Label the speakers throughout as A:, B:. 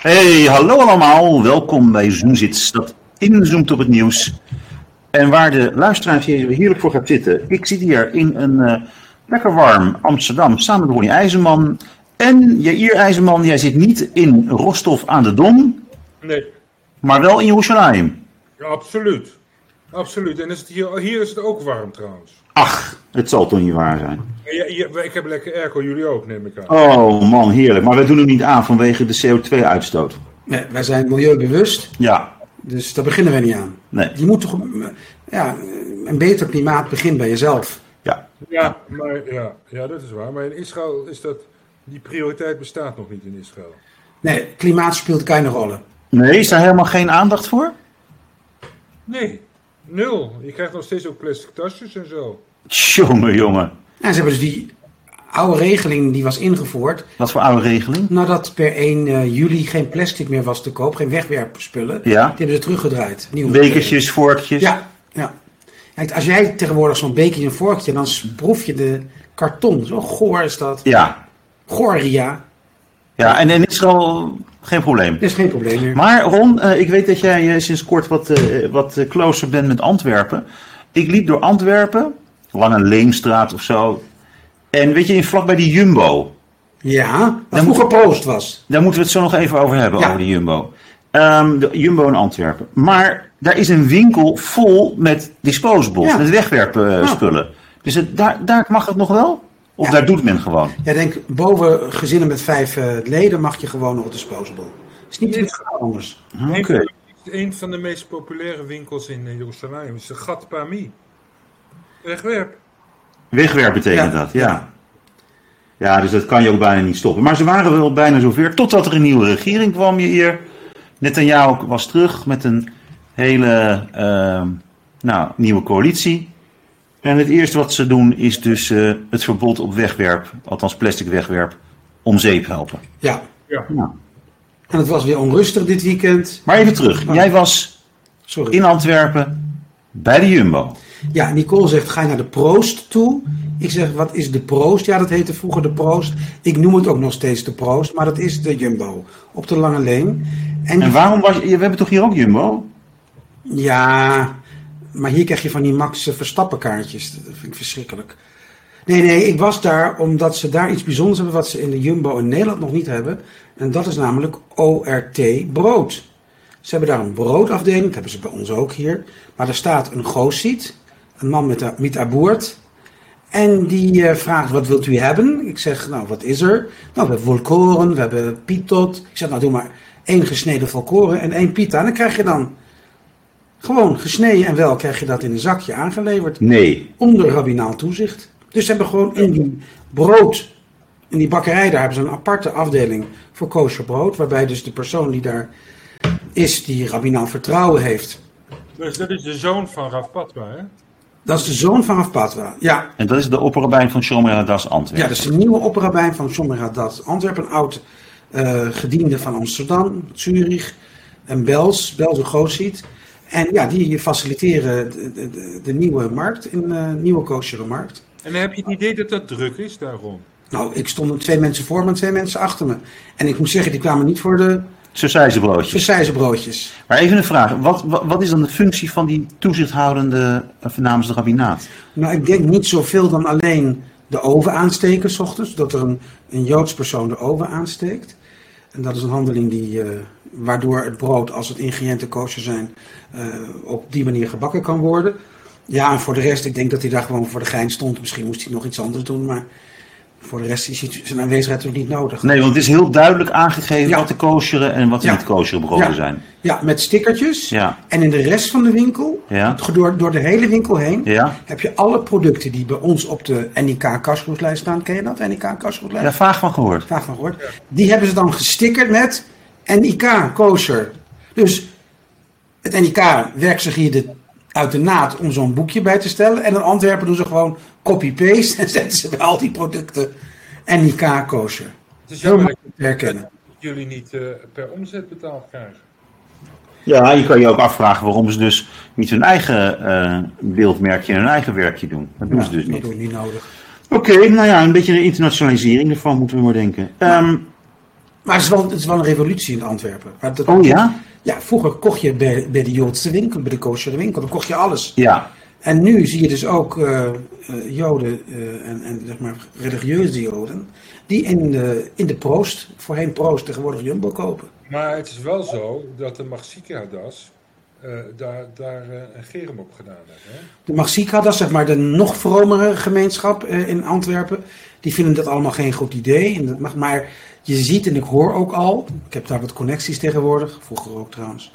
A: Hey, hallo allemaal. Welkom bij Zoomzits, dat inzoomt op het nieuws. En waar de luisteraars hier heerlijk voor gaat zitten. Ik zit hier in een eh, lekker warm Amsterdam samen met Ronnie IJzerman. En Jair IJzerman, jij zit niet in Rostov aan de Don,
B: Nee,
A: maar wel in Jerusalem.
B: ja, absoluut. Absoluut. En is het hier, hier is het ook warm trouwens.
A: Ach, het zal toch niet waar zijn.
B: En ja, hier- ik heb lekker airco, jullie ook neem ik aan.
A: Oh man, heerlijk. Maar we doen hem niet aan vanwege de CO2-uitstoot.
C: Nee, wij zijn milieubewust,
A: Ja,
C: dus daar beginnen we niet aan.
A: nee.
C: Je moet toch mm, ja, een beter klimaat begint bij jezelf.
A: Ja,
B: Ja, maar, ja, ja, dat is waar. Maar in Israël is dat, die prioriteit bestaat nog niet in Israël.
C: Nee, klimaat speelt keine rollen.
A: Nee, is daar helemaal geen aandacht voor?
B: Nee, nul. Je krijgt nog steeds ook plastic tasjes en zo.
A: Jongen, jongen.
C: En ze hebben dus die oude regeling die was ingevoerd,
A: Wat voor oude regeling?
C: nadat per 1 eh, juli geen plastic meer was te koop, geen wegwerpspullen.
A: Ja.
C: Die hebben ze teruggedraaid. Nieuwe
A: Bekertjes, vorkjes.
C: Ja, ja. Kijk, als jij tegenwoordig zo'n bekertje en vorkje, dan s- proef je de karton. Zo goor is dat.
A: Ja,
C: Goria.
A: ja. en in Israël geen probleem.
C: Dat is geen probleem meer.
A: Maar Ron, eh, ik weet dat jij eh, sinds kort wat, eh, wat eh, closer bent met Antwerpen. Ik liep door Antwerpen, lange Leemstraat of zo. En weet je, in vlakbij die Jumbo.
C: Ja, wat
A: Dan
C: vroeger proost was.
A: Daar moeten we het zo nog even over hebben,
C: Ja.
A: over die Jumbo. Ehm, de Jumbo in Antwerpen. Maar daar is een winkel vol met disposables,
C: Ja.
A: met wegwerpspullen.
C: Ja.
A: spullen. Dus het, daar, daar mag het nog wel? Of
C: Ja.
A: daar doet men gewoon?
C: Ja, denk boven gezinnen met vijf eh, leden mag je gewoon nog disposable. Is niet iets anders.
A: Oké.
B: Een van- Een van de meest populaire winkels in eh, Jeruzalem is de Gat Pami. Wegwerp.
A: Wegwerp betekent
C: Ja.
A: dat, ja. Ja, dus dat kan je ook bijna niet stoppen. Maar ze waren wel bijna zover, totdat er een nieuwe regering kwam je hier. Netanyahu was terug met een hele ehm, nou, nieuwe coalitie. En het eerste wat ze doen is dus eh, het verbod op wegwerp, althans plastic wegwerp, om zeep helpen.
C: Ja.
B: Ja.
A: Ja.
C: En het was weer onrustig dit weekend.
A: Maar even terug, jij was
C: Sorry.
A: in Antwerpen bij de Jumbo.
C: Ja, Nicole zegt, ga je naar de proost toe? Ik zeg, wat is de proost? Ja, dat heette vroeger de proost. Ik noem het ook nog steeds de proost, maar dat is de Jumbo. Op de Lange Leen. En,
A: En waarom was je, we hebben toch hier ook Jumbo?
C: Ja, maar hier krijg je van die Max Verstappen kaartjes. Dat vind ik verschrikkelijk. Nee, nee, ik was daar omdat ze daar iets bijzonders hebben wat ze in de Jumbo in Nederland nog niet hebben. En dat is namelijk ORT brood. Ze hebben daar een broodafdeling, dat hebben ze bij ons ook hier. Maar daar staat een goossiet, een man met, a- met aboord. En die eh, vraagt, wat wilt u hebben? Ik zeg, nou, wat is er? Nou, we hebben volkoren, we hebben pitot. Ik zeg, nou, doe maar één gesneden volkoren en één pita. En dan krijg je dan gewoon gesneden en wel krijg je dat in een zakje aangeleverd
A: Nee.
C: onder rabbinaal toezicht. Dus ze hebben gewoon in die brood, in die bakkerij, daar hebben ze een aparte afdeling voor kosher brood. Waarbij dus de persoon die daar is, die rabbinaal vertrouwen heeft.
B: Dus dat is de zoon van Raf Patwa, hè?
C: Dat is de zoon van Rav Patwa. Ja,
A: En dat is de opperrabijn van Shomer Hadass Antwerpen.
C: ja, dat is de nieuwe opperrabijn van Shomer Haddad Antwerpen. Een oud eh, gediende van Amsterdam, Zurich en Bels, Bels en Goossiet. En ja, die faciliteren de, de- de, de nieuwe markt, in eh, nieuwe kosheren markt.
B: En dan heb je het idee dat dat druk is daarom.
C: Nou, ik stond er twee mensen voor me en twee mensen achter me. En ik moet zeggen, die kwamen niet voor de
A: Sausijzenbroodjes.
C: versijzenbroodjes.
A: Maar even een vraag. Wat, wat, wat is dan de functie van die toezichthoudende eh, namens de rabbinaat?
C: Nou, ik denk niet zoveel dan alleen de oven aansteken, s ochtends. Dat er een, een Joods persoon de oven aansteekt. En dat is een handeling die, eh, waardoor het brood, als het ingrediënten kosher zijn, eh, op die manier gebakken kan worden. Ja, en voor de rest, ik denk dat hij daar gewoon voor de gein stond. Misschien moest hij nog iets anders doen, maar voor de rest is hij- zijn aanwezigheid natuurlijk niet nodig.
A: Nee, want het is heel duidelijk aangegeven
C: Ja.
A: wat de kosheren en wat de
C: Ja.
A: niet kosheren broden
C: Ja.
A: zijn.
C: Ja, met stickertjes.
A: Ja.
C: En in de rest van de winkel,
A: Ja.
C: door, door de hele winkel heen,
A: Ja?
C: heb je alle producten die bij ons op de NIK kastroetlijst staan. Ken je dat, NIK kastroetlijst?
A: Daar vaag van gehoord.
C: Vraag van gehoord. Die hebben ze dan gestickerd met NIK kosher. Dus het NIK werkt zich hier de, uit de naad om zo'n boekje bij te stellen. En in Antwerpen doen ze gewoon copy-paste en zetten ze bij al die producten NIK kosher.
B: Het is
C: Heel
B: jammer dat
C: makkelijk te herkennen.
B: jullie niet eh, per omzet betaald krijgen.
A: Ja, je kan je ook afvragen waarom ze dus niet hun eigen eh, beeldmerkje en hun eigen werkje doen. Dat doen
C: Ja,
A: ze dus
C: dat
A: niet.
C: doen we niet nodig.
A: Oké, nou ja, een beetje de internationalisering ervan moeten we maar denken. Ehm,
C: Maar het is wel, het is wel een revolutie in Antwerpen. Maar dat-
A: Oh ja?
C: Ja, vroeger kocht je bij, bij de Joodse winkel, bij de kosher winkel, dan kocht je alles.
A: Ja.
C: En nu zie je dus ook eh, eh, Joden eh, en, en zeg maar religieuze Joden die in de, in de proost, voorheen proost, tegenwoordig Jumbo kopen.
B: Maar het is wel zo dat de Magsieke Hadas eh, daar, daar eh, een gerem op gedaan heeft. Hè?
C: De Marsika, dat is zeg maar de nog vromere gemeenschap eh, in Antwerpen. Die vinden dat allemaal geen goed idee. En dat mag, maar je ziet en ik hoor ook al, ik heb daar wat connecties tegenwoordig, vroeger ook trouwens.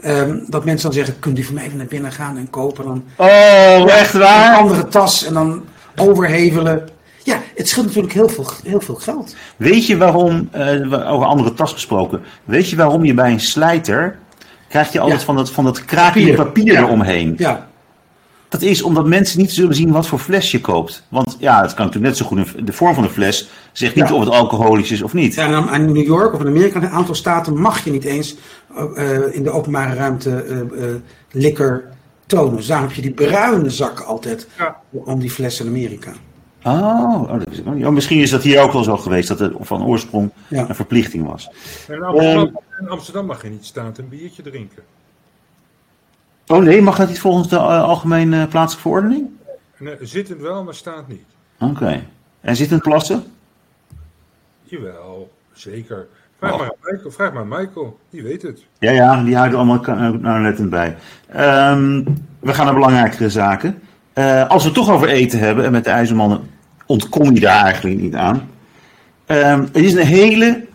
C: ehm, dat mensen dan zeggen, kunt u voor mij even naar binnen gaan en kopen dan
A: Oh, echt
C: een
A: waar?
C: andere tas en dan overhevelen. Ja, het scheelt natuurlijk heel veel, heel veel geld.
A: Weet je waarom, eh, we- over andere tas gesproken, weet je waarom je bij een slijter, krijg je altijd
C: Ja.
A: van dat, van dat kraakje
C: Papier.
A: papier
C: Ja.
A: eromheen.
C: Ja,
A: Dat is omdat mensen niet zullen zien wat voor fles je koopt. Want ja, het kan natuurlijk net zo goed, een- de vorm van de fles zegt niet
C: Ja.
A: of het alcoholisch is of niet.
C: Ja, en dan- en in New York of in Amerika, in een aantal staten, mag je niet eens eh, eh, in de openbare ruimte eh, eh, likker tonen. Dus daarom heb je die bruine zak altijd
B: Ja.
C: om die fles in Amerika.
A: Oh, oh, dat is- oh, ja, misschien is dat hier ook wel zo geweest, dat het van oorsprong
C: Ja.
A: een verplichting was.
B: In Amsterdam, in Amsterdam mag je niet staand een biertje drinken.
A: Oh nee, mag dat niet volgens de eh, algemene plaatselijke verordening?
B: Nee, zittend eh, wel, maar staand niet.
A: Oké. En zit een klasse?
B: Jawel, zeker. Vraag,
A: Oh.
B: maar aan Michael, vraag maar aan Michael, die weet het.
A: Ja, ja, die houden allemaal ka- eh, nauwlettend bij. Ehm, we gaan naar belangrijkere zaken. Eh, als we het toch over eten hebben, en met de ijzermannen ontkom je daar eigenlijk niet aan. Ehm, het is een hele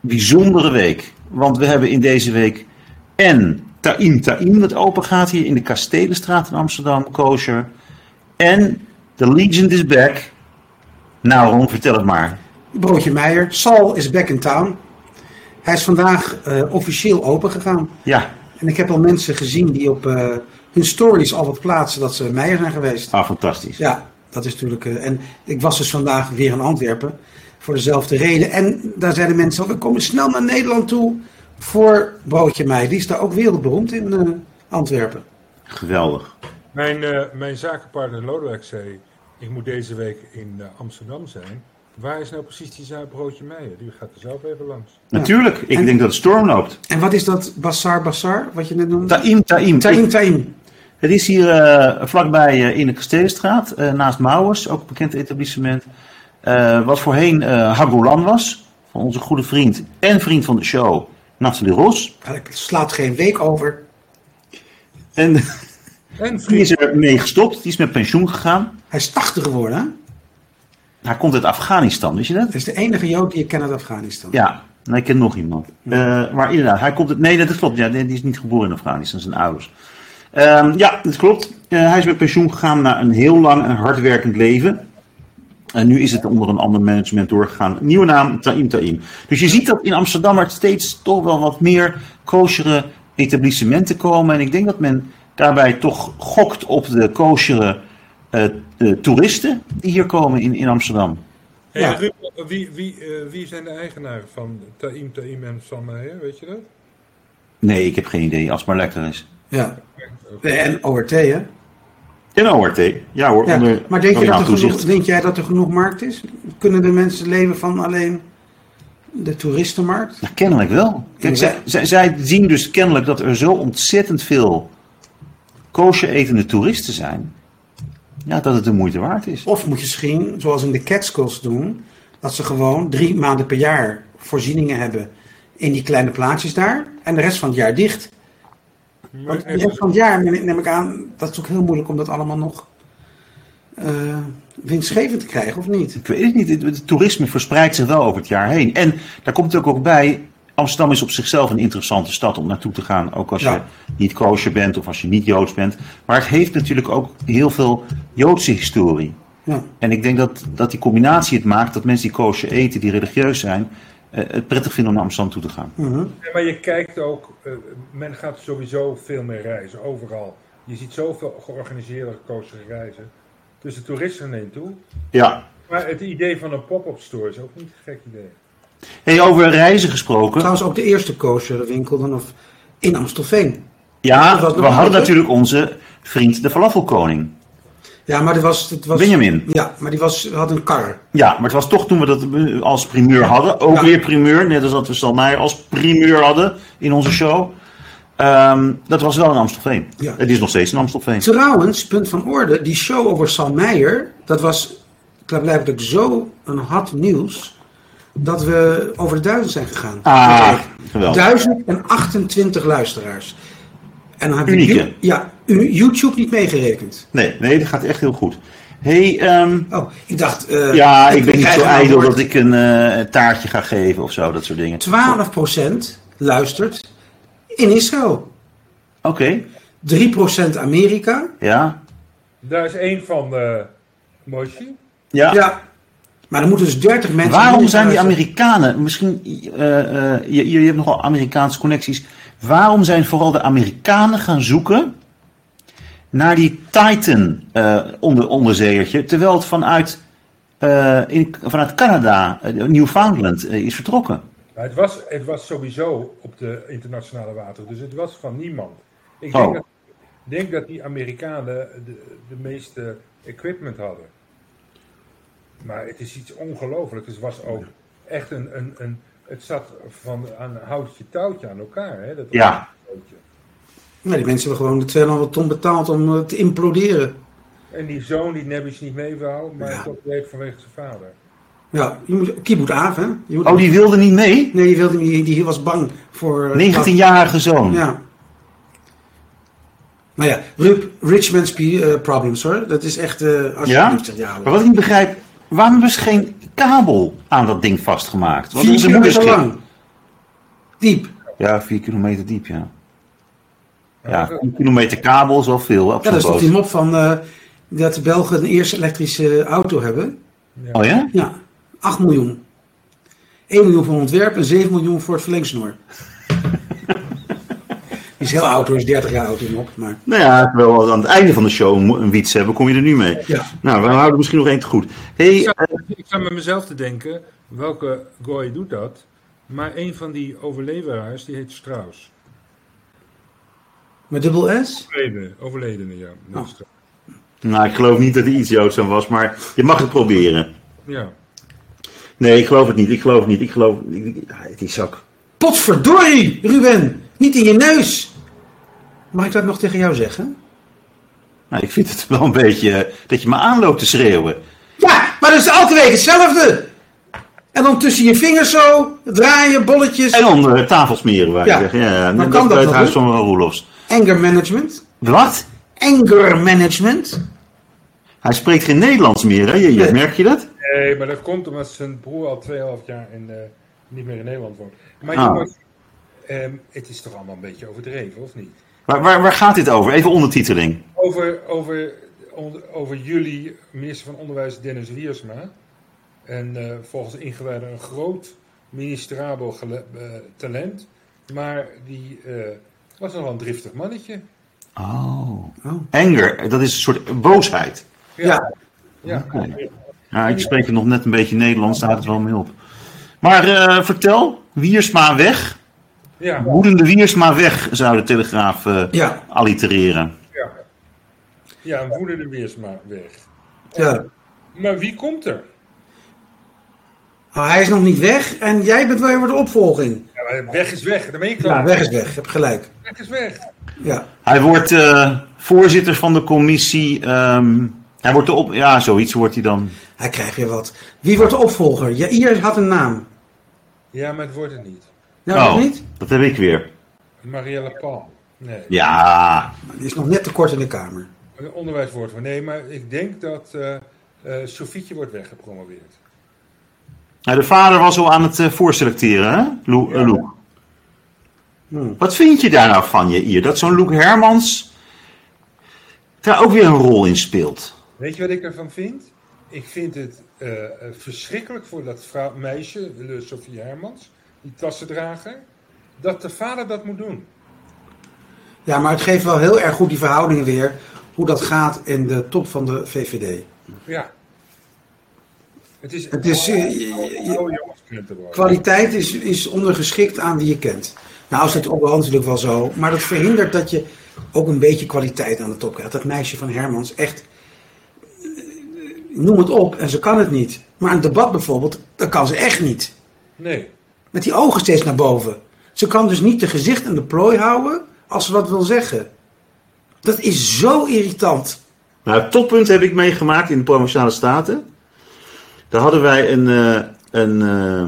A: bijzondere week. Want we hebben in deze week en Taim Taim dat open gaat hier in de Kastelenstraat in Amsterdam, kosher. En The Legion is back. Nou Ron, vertel het maar.
C: Broodje Meijer, Sal is back in town. Hij is vandaag eh, officieel open gegaan.
A: Ja,
C: En ik heb al mensen gezien die op eh, hun stories al wat plaatsen dat ze Meijer zijn geweest.
A: ah, fantastisch.
C: Ja, dat is natuurlijk. eh, en ik was dus vandaag weer in Antwerpen voor dezelfde reden. En daar zeiden mensen: "Oh, we komen snel naar Nederland toe voor Broodje Mei. Die is daar ook wereldberoemd in eh, Antwerpen.
A: Geweldig.
B: Mijn, eh, mijn zakenpartner Lodewijk zei, ik moet deze week in eh, Amsterdam zijn. Waar is nou precies die zaak Broodje Meijer? Die gaat er zelf even langs.
A: Natuurlijk, ik
C: En-
A: denk dat het storm loopt.
C: En wat is dat Bazaar Bazaar, wat je net noemde?
A: Taim, Taim.
C: Taim Taim.
A: Het is hier eh, vlakbij eh, in de Kasteelstraat, eh, naast Mouwers, ook een bekend etablissement. eh, wat voorheen eh Hagoulan was, van onze goede vriend en vriend van de show, Nathalie Ros.
C: Ja, Ik slaat geen week over.
A: En
B: En
A: die
B: vriend,
A: is er mee gestopt, die is met pensioen gegaan.
C: Hij is 80 geworden. Hè?
A: Hij komt uit Afghanistan, weet je dat?
C: Hij is de enige Jood die ik ken uit Afghanistan.
A: Ja, nou, ik ken nog iemand. Eh, maar inderdaad, hij komt... uit- Nee, dat klopt. Ja, nee, die is niet geboren in Afghanistan, zijn ouders. Ehm, ja, dat klopt. Eh, hij is met pensioen gegaan na een heel lang en hardwerkend leven. En nu is het onder een ander management doorgegaan. Nieuwe naam, Taim Taim. Dus je ziet dat in Amsterdam er steeds toch wel wat meer kosheren etablissementen komen. En ik denk dat men daarbij toch gokt op de kosheren eh, eh, toeristen die hier komen in, in Amsterdam.
B: hey,
C: Ja.
B: Ruud, wie, wie, eh, wie zijn de eigenaren van Taim Taim en Sam Meijer, weet je dat?
A: Nee, ik heb geen idee, als het maar lekker is.
C: Ja. En ORT, hè?
A: En ORT. Ja nou, hoor,
C: Ja.
A: onder
C: Maar denk, je
A: royaal
C: dat er genoeg,
A: toezicht.
C: denk jij dat er genoeg markt is? Kunnen de mensen leven van alleen de toeristenmarkt?
A: Nou, kennelijk wel. Kijk, zij, zij, zij zien dus kennelijk dat er zo ontzettend veel kosher etende toeristen zijn. Ja, dat het de moeite waard is.
C: Of moet je misschien, zoals in de Catskills doen, dat ze gewoon drie maanden per jaar voorzieningen hebben in die kleine plaatsjes daar. En de rest van het jaar dicht.
B: Maar,
C: Want de rest van het jaar, neem neem ik aan, dat is ook heel moeilijk om dat allemaal nog eh, winstgevend te krijgen, of niet?
A: Ik weet het niet, het, het toerisme verspreidt zich wel over het jaar heen. En daar komt ook ook bij, Amsterdam is op zichzelf een interessante stad om naartoe te gaan. Ook als je
C: Ja.
A: niet kosher bent of als je niet Joods bent. Maar het heeft natuurlijk ook heel veel Joodse historie.
C: Ja.
A: En ik denk dat, dat die combinatie het maakt dat mensen die koosje eten, die religieus zijn, eh, het prettig vinden om naar Amsterdam toe te gaan.
C: Mhm.
B: Ja, maar je kijkt ook, eh, men gaat sowieso veel meer reizen, overal. Je ziet zoveel georganiseerde gekozen reizen. Dus de toeristen neemt toe.
A: Ja.
B: Maar het idee van een pop-up store is ook niet een gek idee.
A: Hey, over reizen gesproken.
C: Trouwens, ook de eerste kosher winkel dan of in Amstelveen.
A: Ja,
C: Dat was
A: we
C: nog
A: hadden
C: leuk, hè?
A: natuurlijk onze vriend de falafelkoning.
C: Ja, maar dat was, dat was...
A: Benjamin.
C: Ja, maar die was, had een kar.
A: Ja, maar het was toch toen we dat eh, als primeur hadden, ook
C: Ja.
A: weer primeur, net als dat we Stan Meijer als primeur hadden in onze show. Ehm, dat was wel in Amstelveen.
C: Ja.
A: Het is nog steeds in Amstelveen.
C: Trouwens, punt van orde, die show over Sam Meijer, dat was blijkbaar zo een hot nieuws, dat we over de duizend zijn gegaan.
A: Ah, geweldig.
C: 1028 luisteraars. En dan heb je
A: Unieke.
C: You- ja, U- YouTube niet meegerekend.
A: Nee, nee, dat gaat echt heel goed. hey, ehm,
C: Oh, ik dacht... eh,
A: ja, ik ben niet
C: krijg
A: zo
C: een
A: ijdel
C: antwoord.
A: dat ik een eh, een taartje ga geven of zo, dat soort dingen.
C: 12% luistert in Israël.
A: Oké,
C: 3% Amerika.
A: ja.
B: Daar is één van, eh Moshi.
A: Ja.
C: Ja. Maar er moeten dus 30 mensen...
A: Waarom
C: minder
A: zijn die
C: luisteren.
A: Amerikanen, misschien, eh, eh, je, je hebt nogal Amerikaanse connecties. Waarom zijn vooral de Amerikanen gaan zoeken naar die Titan eh, onder, onderzeeërtje, terwijl het vanuit, eh, in, vanuit Canada, eh, Newfoundland, eh, is vertrokken?
B: Maar het, was, het was sowieso op de internationale water, dus het was van niemand. Ik
A: Oh.
B: denk, dat, ik denk dat die Amerikanen de, de meeste equipment hadden. Maar het is iets ongelooflijks. Het was ook echt een. een, een het zat van aan een houtje touwtje aan elkaar. Hè? Dat
A: Ja.
B: touwtje.
C: Ja, die mensen hebben gewoon de 200 ton betaald om eh, te imploderen.
B: En die zoon die Nebbis niet mee wou, maar
C: Ja.
B: dat deed vanwege zijn vader.
C: Ja, je moet, kibbut af, hè? Je moet-
A: Oh, die wilde niet mee?
C: Nee, die, wilde, die, die was bang voor... eh,
A: 19-jarige zoon.
C: Ja. Maar ja, Rup, rich man's pe- eh, problems hoor. Dat is echt... eh als
A: Ja?
C: je het zegt, ja,
A: Maar wat ik niet begrijp, waarom is geen kabel aan dat ding vastgemaakt? Want
C: Vier
A: het is een
C: kilometer
A: moederschip.
C: lang. Diep.
A: Ja, vier kilometer diep, ja. Ja,
B: Ja,
A: vier kilometer kabel is wel veel. hè, op
C: Ja,
A: zo'n
C: dat is toch
A: boot.
C: die mop van eh, dat de Belgen een eerste elektrische auto hebben.
A: Oh ja?
C: Ja, 8 miljoen. 1 miljoen voor ontwerp en 7 miljoen voor het verlengsnoer. die is heel oud hoor, is 30 jaar oud die mop. Maar
A: Nou ja, wel als aan het einde van de show een mo- een wiets hebben, kom je er nu mee.
C: ja,
A: Nou, we houden misschien nog één te goed. Hey,
B: Ja.
A: eh,
B: Ik sta met mezelf te denken, welke gooi doet dat? Maar een van die overleveraars, die heet Strauss.
C: met dubbel S?
B: Overledene, overledene ja. Dat is Strauss.
A: nou, ik geloof niet dat hij iets Joods aan was, maar je mag het proberen.
B: Ja.
A: Nee, ik geloof het niet, ik geloof het niet, ik geloof... ik- ik- ah, Die zak.
C: Potverdorie, Ruben! Niet in je neus! Mag ik dat nog tegen jou zeggen?
A: Nou, ik vind het wel een beetje eh, dat je me aanloopt te schreeuwen.
C: Ja, maar dat is elke week hetzelfde! En dan tussen je vingers zo, draaien, bolletjes.
A: En onder de tafel smeren, waar
C: Ja.
A: je zegt. Ja,
C: Maar
A: dat
C: kan
A: bij
C: dat
A: het
C: nog,
A: huis
C: hè?
A: van Roelofs.
C: Anger management.
A: Wat?
C: Anger management.
A: Hij spreekt geen Nederlands meer, hè? Je, je-
C: Nee.
A: Merk je dat?
B: Nee, maar dat komt omdat zijn broer al 2,5 jaar in, eh, niet meer in Nederland woont. Maar
A: Ah.
B: jongens, ehm, het is toch allemaal een beetje overdreven, of niet?
A: Waar, waar, waar gaat dit over? Even ondertiteling.
B: Over, over, on- over jullie, minister van Onderwijs Dennis Wiersma. En eh, volgens ingewijden een groot ministerabel gele- eh, talent. Maar die eh, was nogal een driftig mannetje.
A: Oh.
C: Oh.
A: Anger, dat is een soort boosheid.
C: Ja.
B: ja.
A: Oké. Ja, ik spreek nog net een beetje Nederlands, daar houdt het wel mee op. Maar eh, vertel, Wiersma weg.
B: ja.
A: Woedende Wiersma weg, zou de Telegraaf eh,
C: Ja,
A: allitereren.
B: Ja, ja een woedende Wiersma weg.
C: ja.
B: Maar wie komt er?
C: Oh, hij is nog niet weg en jij bent wel weer de opvolging.
B: Ja, maar weg is weg, daar ben je klaar.
C: Ja, weg is weg, je hebt gelijk.
B: Weg is weg.
C: Ja.
A: Hij wordt eh, voorzitter van de commissie. ehm, hij wordt de op... Ja, zoiets wordt hij dan.
C: Hij krijgt weer wat. Wie wordt de opvolger? Jair had een naam.
B: Ja, maar het wordt het niet.
C: Nou,
A: Oh.
C: nog niet?
A: Dat heb ik weer.
B: Marielle Paul. Nee.
A: Ja,
C: Die is nog net te kort in de kamer.
B: Onderwijswoord voor. Nee, maar ik denk dat eh eh, Sofietje wordt weggepromoveerd.
A: Nou, de vader was al aan het eh, voorselecteren, hè? Lou, eh, Loek.
C: Hmm.
A: Wat vind je daar nou van, je hier? Dat zo'n Loek Hermans daar ook weer een rol in speelt.
B: Weet je wat ik ervan vind? Ik vind het eh, eh, verschrikkelijk voor dat vrouw, meisje, eh, Sofie Hermans, die tassendrager, dat de vader dat moet doen.
C: Ja, maar het geeft wel heel erg goed die verhoudingen weer. Hoe dat gaat in de top van de VVD.
B: Ja. Het is,
C: Het is, eh, je- je-
B: Oh, jongens, kunt er worden.
C: Kwaliteit is, is ondergeschikt aan wie je kent. Nou, is dat ook wel natuurlijk wel zo. Maar dat verhindert dat je ook een beetje kwaliteit aan de top krijgt. Dat meisje van Hermans echt. eh, noem het op en ze kan het niet. Maar een debat bijvoorbeeld, dat kan ze echt niet.
B: Nee.
C: Met die ogen steeds naar boven. Ze kan dus niet de gezicht en de plooi houden als ze wat wil zeggen. Dat is zo irritant.
A: Nou, het toppunt heb ik meegemaakt in de Provinciale Staten. Daar hadden wij een, eh, een eh,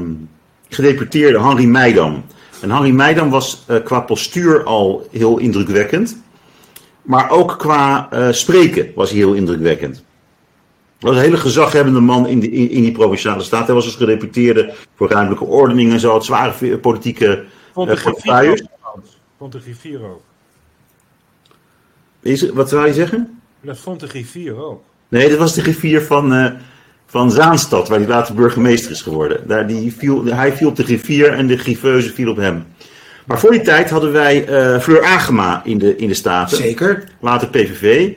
A: gedeputeerde, Henry Meidam. En Henry Meidam was eh, qua postuur al heel indrukwekkend. Maar ook qua eh, spreken was hij heel indrukwekkend. Hij was een hele gezaghebbende man in, die- in, in die Provinciale Staten. Hij was als gedeputeerde voor ruimtelijke ordening en zo. Had zware ve- politieke
B: Vond
A: Eh,
B: de griffier
A: portefeuilles?
B: ook. trouwens. Vond de griffier ook.
A: Is- Wat zou je zeggen?
B: Dat vond de griffier ook.
A: Nee, dat was de rivier van, eh, van Zaanstad, waar hij later burgemeester is geworden. Daar, die viel, hij viel op de rivier en de griffeuze viel op hem. Maar voor die tijd hadden wij eh, Fleur Agema in de, in de Staten,
C: Zeker.
A: later PVV.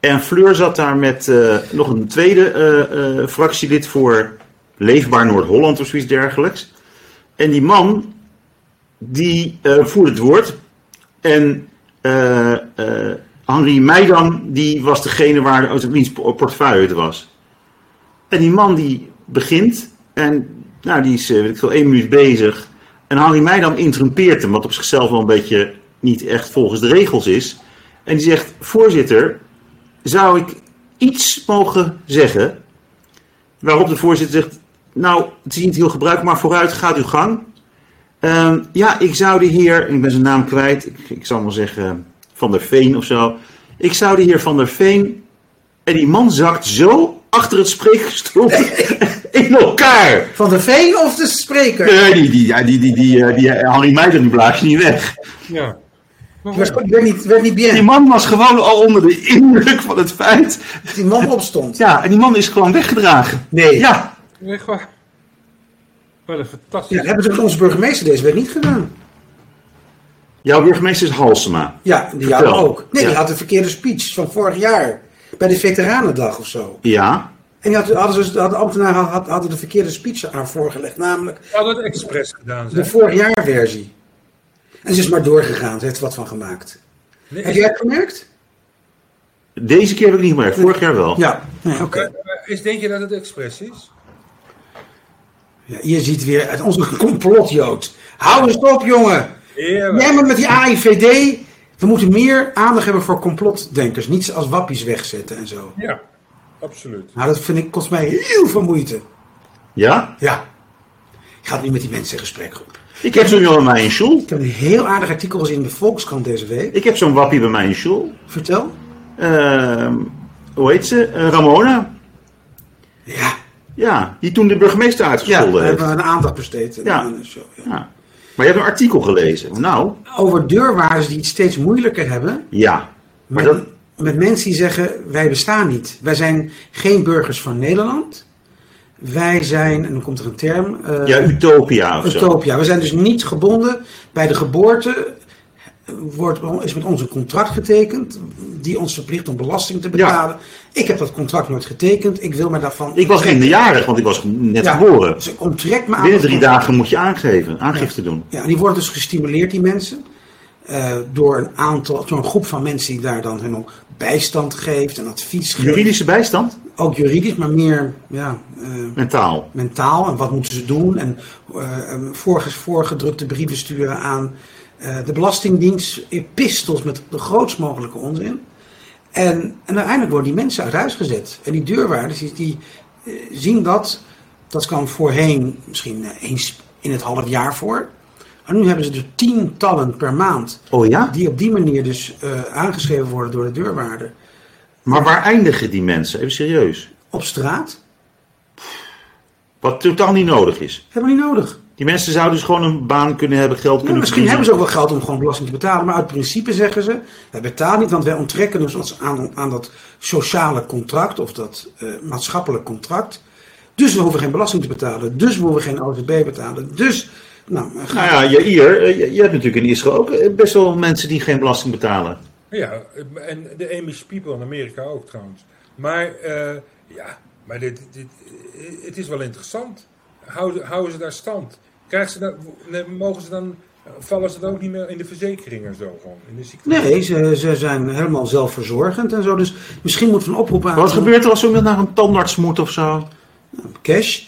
A: En Fleur zat daar met eh, nog een tweede eh, eh, fractielid voor Leefbaar Noord-Holland of zoiets dergelijks. En die man, die eh, voerde het woord. En eh, eh, Henri Meidan, die was degene waar de wiens po- portefeuille het was. En die man die begint, en nou, die is eh, weet ik veel, één minuut bezig. En Henri Meidan interrumpeert hem, wat op zichzelf wel een beetje niet echt volgens de regels is. En die zegt, voorzitter, zou ik iets mogen zeggen? Waarop de voorzitter zegt, nou, het is niet heel gebruikelijk, maar vooruit, gaat uw gang. Ehm, ja, ik zou de heer, ik ben zijn naam kwijt, ik, ik zal maar zeggen Van der Veen of zo. Ik zou de heer Van der Veen, en die man zakt zo achter het spreekgestoel in elkaar.
C: Van de veen of de spreker?
A: Eh, die, die, ja, die, die, die, eh, die, eh, Henri Meijer die blaast je niet weg.
B: Ja.
C: Die was- werd niet, werd niet
A: Die
C: bien.
A: man was gewoon al onder de indruk van het feit
C: Die man opstond.
A: Ja, en die man is gewoon weggedragen.
C: Nee. Ja.
A: Ja,
B: Echt waar. Wat een fantastisch.
C: dat hebben ze met onze burgemeester deze week niet gedaan.
A: jouw burgemeester is Halsema.
C: Ja, die
A: Vertel.
C: hadden ook. Nee,
A: Ja.
C: die had een verkeerde speech van vorig jaar. Bij de Veteranendag of zo.
A: Ja,
C: En die had, hadden ze, had, de ambtenaren had- hadden de verkeerde speech aan voorgelegd. Namelijk
B: Zou dat expres gedaan
C: de
B: zijn?
C: vorig jaar versie. En ze is maar doorgegaan. Ze heeft er wat van gemaakt.
B: Nee,
C: Heb jij het gemerkt?
A: deze keer heb ik niet meer. Vorig jaar wel.
C: Ja. Nee, oké.
B: maar- maar Is, denk je dat het expres is?
C: Ja, je ziet weer uit onze complotjood. Hou eens op, jongen.
B: Heerlijk.
C: Jij moet met die AIVD. We moeten meer aandacht hebben voor complotdenkers. Niet ze als wappies wegzetten en zo.
B: Ja, absoluut.
C: Nou, dat vind ik, kost mij heel veel moeite.
A: Ja?
C: Ja. Ik ga niet met die mensen in gesprek. Goed.
A: Ik heb zo'n jongen bij mij in school.
C: Ik heb een heel aardig artikel gezien in de Volkskrant deze week.
A: Ik heb zo'n wappie bij mij in school.
C: Vertel.
A: Ehm, hoe heet ze? Eh, Ramona.
C: Ja.
A: Ja, die toen de burgemeester
C: Ja,
A: uitgescholden
C: we
A: heeft.
C: hebben een aandacht besteed. aan
A: Ja.
C: een show, ja.
A: Ja. Maar je hebt een artikel gelezen. Nou,
C: Over deurwaarders die het steeds moeilijker hebben.
A: ja. Maar
C: met,
A: dat...
C: met mensen die zeggen, wij bestaan niet. Wij zijn geen burgers van Nederland. Wij zijn, en dan komt er een term. eh,
A: Ja, utopia of zo.
C: Utopia. We zijn dus niet gebonden bij de geboorte. Wordt, is met ons een contract getekend die ons verplicht om belasting te betalen. Ik heb dat contract nooit getekend. Ik wil me daarvan.
A: Ik was geen jarig, want ik was net
C: Ja.
A: geboren.
C: Ze onttrekt me aan.
A: Binnen drie dagen moet je aangeven, aangifte doen.
C: Ja, die worden dus gestimuleerd, die mensen. eh, door een aantal, door een groep van mensen die daar dan hun ook bijstand geeft en advies geeft.
A: Juridische bijstand?
C: Ook juridisch, maar meer ja, eh,
A: Mentaal.
C: mentaal en wat moeten ze doen. En eh, em, voorge- voorgedrukte brieven sturen aan eh, de Belastingdienst, epistels met de grootst mogelijke onzin. En, en uiteindelijk worden die mensen uit huis gezet. En die deurwaarders die, die, eh, zien dat, dat kan voorheen misschien eh, eens in het half jaar voor. Maar nu hebben ze dus tientallen per maand.
A: Oh ja?
C: Die op die manier dus eh, aangeschreven worden door de deurwaarder.
A: Maar waar eindigen die mensen? Even serieus.
C: Op straat
A: Wat totaal niet nodig is.
C: hebben we niet nodig.
A: Die mensen zouden dus gewoon een baan kunnen hebben, geld
C: Ja,
A: kunnen
C: misschien hebben ze
A: verdienen.
C: ook wel geld om gewoon belasting te betalen, maar uit principe zeggen ze: wij betalen niet, want wij onttrekken dus ons aan, aan dat sociale contract of dat eh, maatschappelijk contract. Dus we hoeven geen belasting te betalen, dus we hoeven geen OZB betalen. Dus, nou, eh, ga-
A: Nou ja, Jair, eh, je, je hebt natuurlijk in Israël ook eh, best wel mensen die geen belasting betalen.
B: Ja, en de Amish people in Amerika ook trouwens. Maar eh, ja, maar dit, dit, het is wel interessant. Houden, houden ze daar stand? Krijgen ze dan, mogen ze dan Vallen ze dan ook niet meer in de verzekering en zo gewoon? In de ziekte?
C: Nee, ze, ze zijn helemaal zelfverzorgend en zo. Dus misschien moeten we een oproep aan...
A: Wat gebeurt er als iemand naar een tandarts moet of zo?
C: Cash.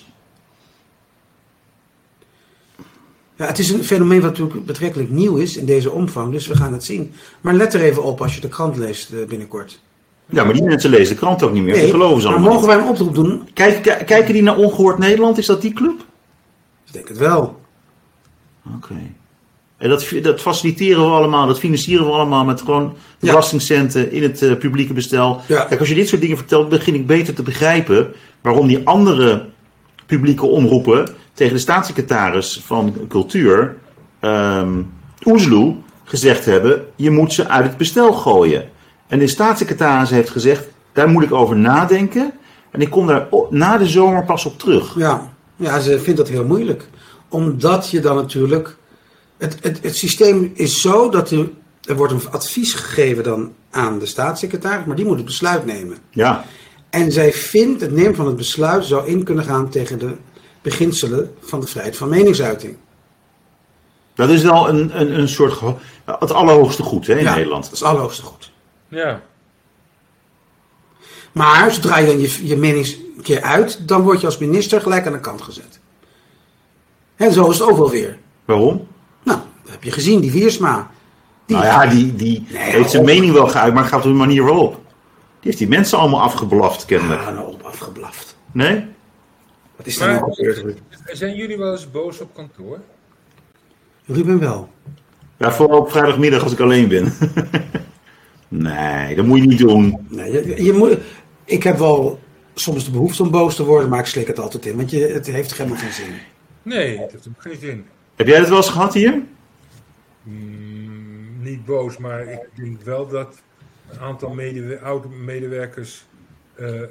C: Ja, het is een fenomeen wat natuurlijk betrekkelijk nieuw is in deze omvang, dus we gaan het zien. Maar let er even op als je de krant leest eh, binnenkort.
A: Ja, maar die mensen lezen de krant ook niet meer. Die geloven ze
C: maar
A: allemaal
C: mogen wij een oproep doen?
A: niet. Kijk, kijk- kijken die naar Ongehoord Nederland? Is dat die club?
C: Ik denk het wel.
A: Oké. En dat, dat faciliteren we allemaal, dat financieren we allemaal met gewoon
C: Ja.
A: belastingcenten in het eh, publieke bestel.
C: Ja.
A: Kijk, als je dit soort dingen vertelt, begin ik beter te begrijpen waarom die andere publieke omroepen tegen de staatssecretaris van Cultuur, ehm Oezloe, gezegd hebben: je moet ze uit het bestel gooien. En de staatssecretaris heeft gezegd: daar moet ik over nadenken. En ik kom daar o- na de zomer pas op terug.
C: Ja, ja ze vindt dat heel moeilijk. Omdat je dan natuurlijk... Het, het, het systeem is zo dat er, er wordt een advies gegeven dan aan de staatssecretaris, maar die moet het besluit nemen.
A: Ja,
C: En zij vindt het nemen van het besluit zou in kunnen gaan tegen de beginselen van de vrijheid van meningsuiting.
A: Dat is wel een, een, een soort. geho- Het allerhoogste goed hè, in
C: Ja,
A: Nederland.
C: Dat is allerhoogste goed.
B: Ja.
C: Maar zodra je dan je, je mening een keer uit, dan word je als minister gelijk aan de kant gezet. En zo is het ook wel weer.
A: Waarom?
C: Nou, dat heb je gezien, die Wiersma. Die,
A: Nou ja, die, die
C: Nee,
A: heeft zijn
C: op.
A: mening wel geuit, maar gaat op een manier wel op. Die heeft die mensen allemaal afgeblaft, kennelijk.
C: Ah, nou op afgeblaft.
A: Nee?
C: Wat is daar
B: Maar,
C: nou gebeurd?
B: zijn jullie wel eens boos op kantoor?
C: Ruben wel.
A: Ja, vooral op vrijdagmiddag als ik alleen ben. nee, dat moet je niet doen.
C: Nee, je, je moet, ik heb wel soms de behoefte om boos te worden, maar ik slik het altijd in. Want je, het heeft helemaal geen zin.
B: Nee, dat heeft ook geen zin.
A: Heb jij dat wel eens gehad hier?
B: Mm, niet boos, maar ik denk wel dat een aantal medewe- oude medewerkers eh, eh,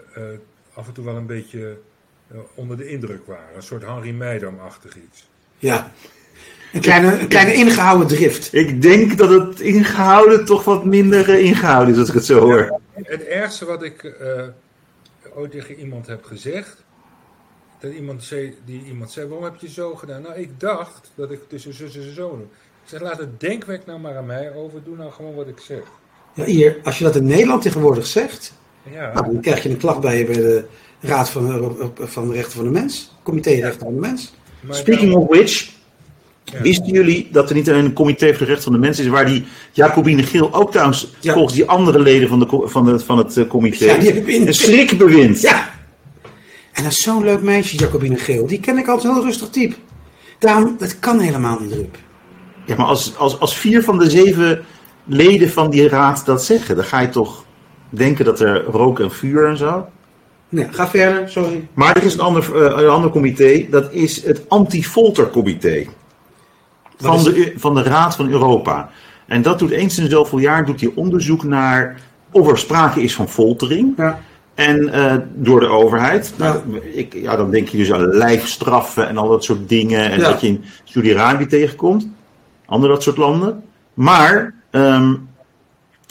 B: af en toe wel een beetje eh, onder de indruk waren. Een soort Henri Meidam-achtig iets.
C: Ja. Een kleine, een kleine ingehouden drift.
A: Ik denk dat het ingehouden toch wat minder eh, ingehouden is, als ik het zo hoor.
B: Het ergste wat ik eh, ooit tegen iemand heb gezegd. Dat iemand zei, die iemand zei, waarom heb je zo gedaan? Nou, ik dacht dat ik tussen zus en zo doe. Ik zeg, laat het denkwerk nou maar aan mij over. Doe nou gewoon wat ik zeg.
C: Ja, hier, als je dat in Nederland tegenwoordig zegt,
B: Ja,
C: nou, dan krijg je een klacht bij je bij de Raad van, Euro- van de Rechten van de Mens. Comité Rechten van de Mens.
B: maar
A: Speaking of which,
B: Ja.
A: wisten jullie dat er niet alleen een comité voor de rechten van de mens is, waar die Jacobine Geel ook trouwens
C: Ja.
A: volgens die andere leden van, de, co- van, de, van het eh, comité
C: Ja, die heb ik in-
A: een schrik bewindt?
C: Ja! En dat is zo'n leuk meisje, Jacobine Geel. Die ken ik altijd heel rustig type. Daarom, dat kan helemaal niet, Rup.
A: Ja, maar als, als, als vier van de zeven leden van die raad dat zeggen, dan ga je toch denken dat er rook en vuur en zo.
C: Nee, ga verder, sorry.
A: Maar er is een ander, eh, een ander comité, dat is het Anti-Folter-comité.
C: Wat
A: Van
C: is-
A: de, Eu- van de Raad van Europa. En dat doet eens in zoveel jaar doet hij onderzoek naar of er sprake is van foltering.
C: Ja.
A: En eh, door de overheid.
C: Ja.
A: Nou, ik, ja, dan denk je dus aan lijfstraffen en al dat soort dingen. En
C: Ja.
A: dat je in Saudi-Arabië tegenkomt. Andere dat soort landen. Maar ehm,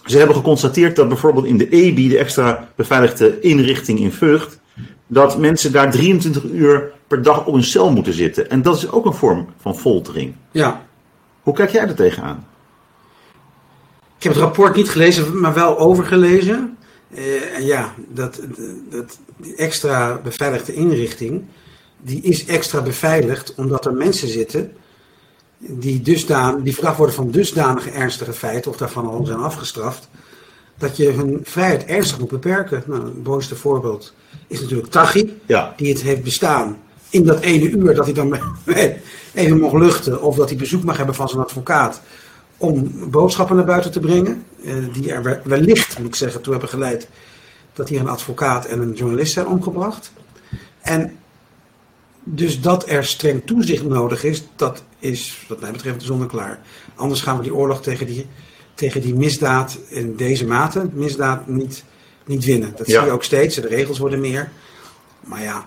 A: ze hebben geconstateerd dat bijvoorbeeld in de EBI, de extra beveiligde inrichting in Vught. dat mensen daar 23 uur per dag op een cel moeten zitten. En dat is ook een vorm van foltering.
C: ja.
A: Hoe kijk jij er tegenaan?
C: Ik heb het rapport niet gelezen, maar wel overgelezen. Eh, en ja, dat, dat, die extra beveiligde inrichting, die is extra beveiligd omdat er mensen zitten die, dusdan, die verdacht worden van dusdanige ernstige feiten of daarvan al zijn afgestraft, dat je hun vrijheid ernstig moet beperken. Nou, het mooiste voorbeeld is natuurlijk Tachi,
A: Ja.
C: die het heeft bestaan in dat ene uur dat hij dan even mocht luchten of dat hij bezoek mag hebben van zijn advocaat om boodschappen naar buiten te brengen, eh, die er we- wellicht, moet ik zeggen, toe hebben geleid dat hier een advocaat en een journalist zijn omgebracht. En dus dat er streng toezicht nodig is, dat is wat mij betreft zonneklaar. Anders gaan we die oorlog tegen die, tegen die misdaad in deze mate, misdaad niet, niet winnen. Dat
A: Ja.
C: zie je ook steeds, de regels worden meer. Maar ja,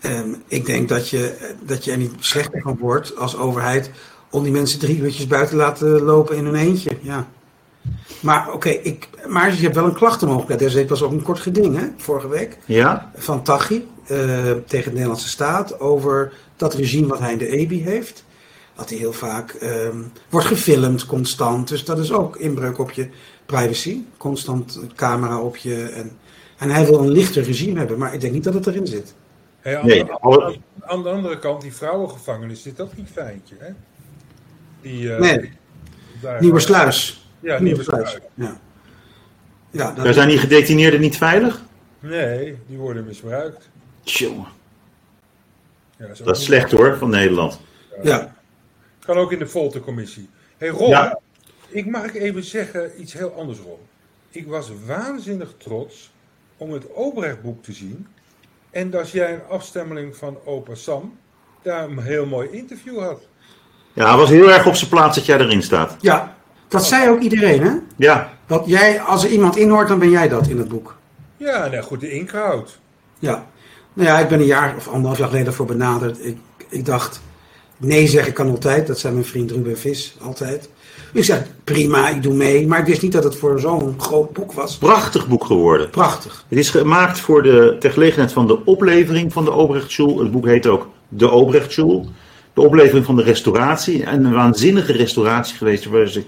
C: ehm, ik denk dat je, dat je er niet slechter van wordt als overheid om die mensen drie uurtjes buiten laten lopen in hun eentje. Ja. Maar oké, ik, maar je hebt wel een klachtenmogelijkheid. Er was ook een kort geding, hè, vorige week
A: Ja?
C: van Taghi eh, tegen de Nederlandse staat over dat regime wat hij in de EBI E heeft. Dat hij heel vaak ehm, wordt gefilmd constant. Dus dat is ook inbreuk op je privacy. Constant camera op je. En, en hij wil een lichter regime hebben, maar ik denk niet dat het erin zit.
B: nou, Hey, aan,
A: Nee,
B: de,
A: alle-
B: aan de andere kant, die vrouwengevangenis zit dat niet fijntje, hè? Die, eh,
C: Nee,
B: daar-
C: Nieuwersluis.
B: Ja,
C: Nieuwersluis.
B: Nieuwersluis.
C: Ja. Ja, dat,
A: Daar zijn die gedetineerden niet veilig?
B: Nee, die worden misbruikt.
A: Tjonge,
B: Ja, ook
A: dat is
B: niet-
A: slecht hoor, van Nederland.
C: ja.
B: Kan ook in de foltercommissie. Hé hey Ron,
A: Ja.
B: ik mag ik even zeggen iets heel anders Ron. Ik was waanzinnig trots om het Obrecht-boek te zien. En dat jij een afstemmeling van opa Sam daar een heel mooi interview had.
A: Ja, het was heel erg op zijn plaats dat jij erin staat.
C: ja, dat zei ook iedereen, hè?
A: Ja,
C: Dat jij, als er iemand inhoort, dan ben jij dat in het boek.
B: Ja, nou goed, de inkraut.
C: Ja. Nou ja, ik ben een jaar of anderhalf jaar geleden voor benaderd. Ik, ik dacht, nee zeggen kan altijd. Dat zei mijn vriend Ruben Vis altijd. Ik zei, prima, ik doe mee. Maar ik wist niet dat het voor zo'n groot boek was.
A: prachtig boek geworden.
C: Prachtig.
A: Het is gemaakt voor de, ter gelegenheid van de oplevering van de Obrechtschul. Het boek heet ook De Obrechtschul. De oplevering van de restauratie. En een waanzinnige restauratie geweest. Waar ze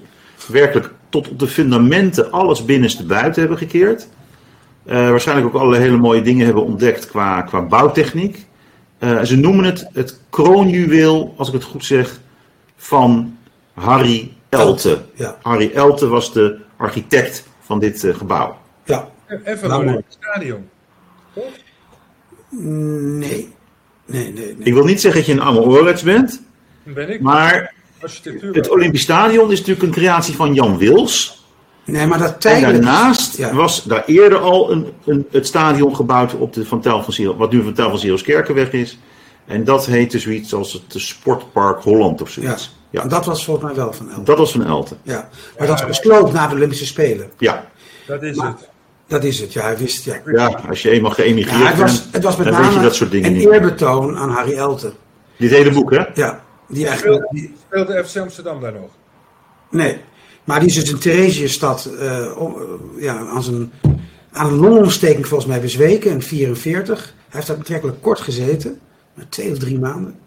A: werkelijk tot op de fundamenten alles binnenste buiten hebben gekeerd. Eh, waarschijnlijk ook allerlei hele mooie dingen hebben ontdekt qua, qua bouwtechniek. Eh, ze noemen het het kroonjuweel, als ik het goed zeg, van Harry Elte.
C: Ja,
A: Harry Elte was de architect van dit eh, gebouw.
C: ja.
B: Even
C: Nou,
B: nou,
C: mooi.
B: het stadion. Toch?
C: Nee. Nee, nee, nee.
A: Ik wil niet zeggen dat je een Amal Orets bent,
B: Dan ben ik.
A: maar
B: architectuur.
A: het Olympisch Stadion is natuurlijk een creatie van Jan Wils.
C: Nee, maar dat
A: En
C: tijdelijk...
A: daarnaast
C: Ja.
A: was daar eerder al een, een, het stadion gebouwd op de Van Tel van Ziel, wat nu Van Tel van Zielskerkenweg is. En dat heette zoiets als het eh, Sportpark Holland of
C: Ja.
A: zoiets. Ja,
C: En dat was volgens mij wel van Elf.
A: dat was van Elten.
C: Ja. Maar dat is besloten na de Olympische Spelen.
A: Ja.
B: Dat is het.
C: Dat is het. Ja, hij wist... Ja.
A: ja, als je eenmaal geëmigreerd
C: Ja, het was,
A: bent,
C: het was met
A: dan weet je
C: name
A: dat soort dingen
C: een Oh,
A: niet meer.
C: eerbetoon aan Harry Elten.
A: Dit hele boek, hè?
C: Ja, die eigenlijk...
B: Speelde, speelde FC Amsterdam daar nog?
C: Nee, maar die is dus in Theresienstad eh, om- eh, ja, aan, zijn, aan een longontsteking volgens mij bezweken in 44. Hij heeft daar betrekkelijk kort gezeten, maar twee of drie maanden.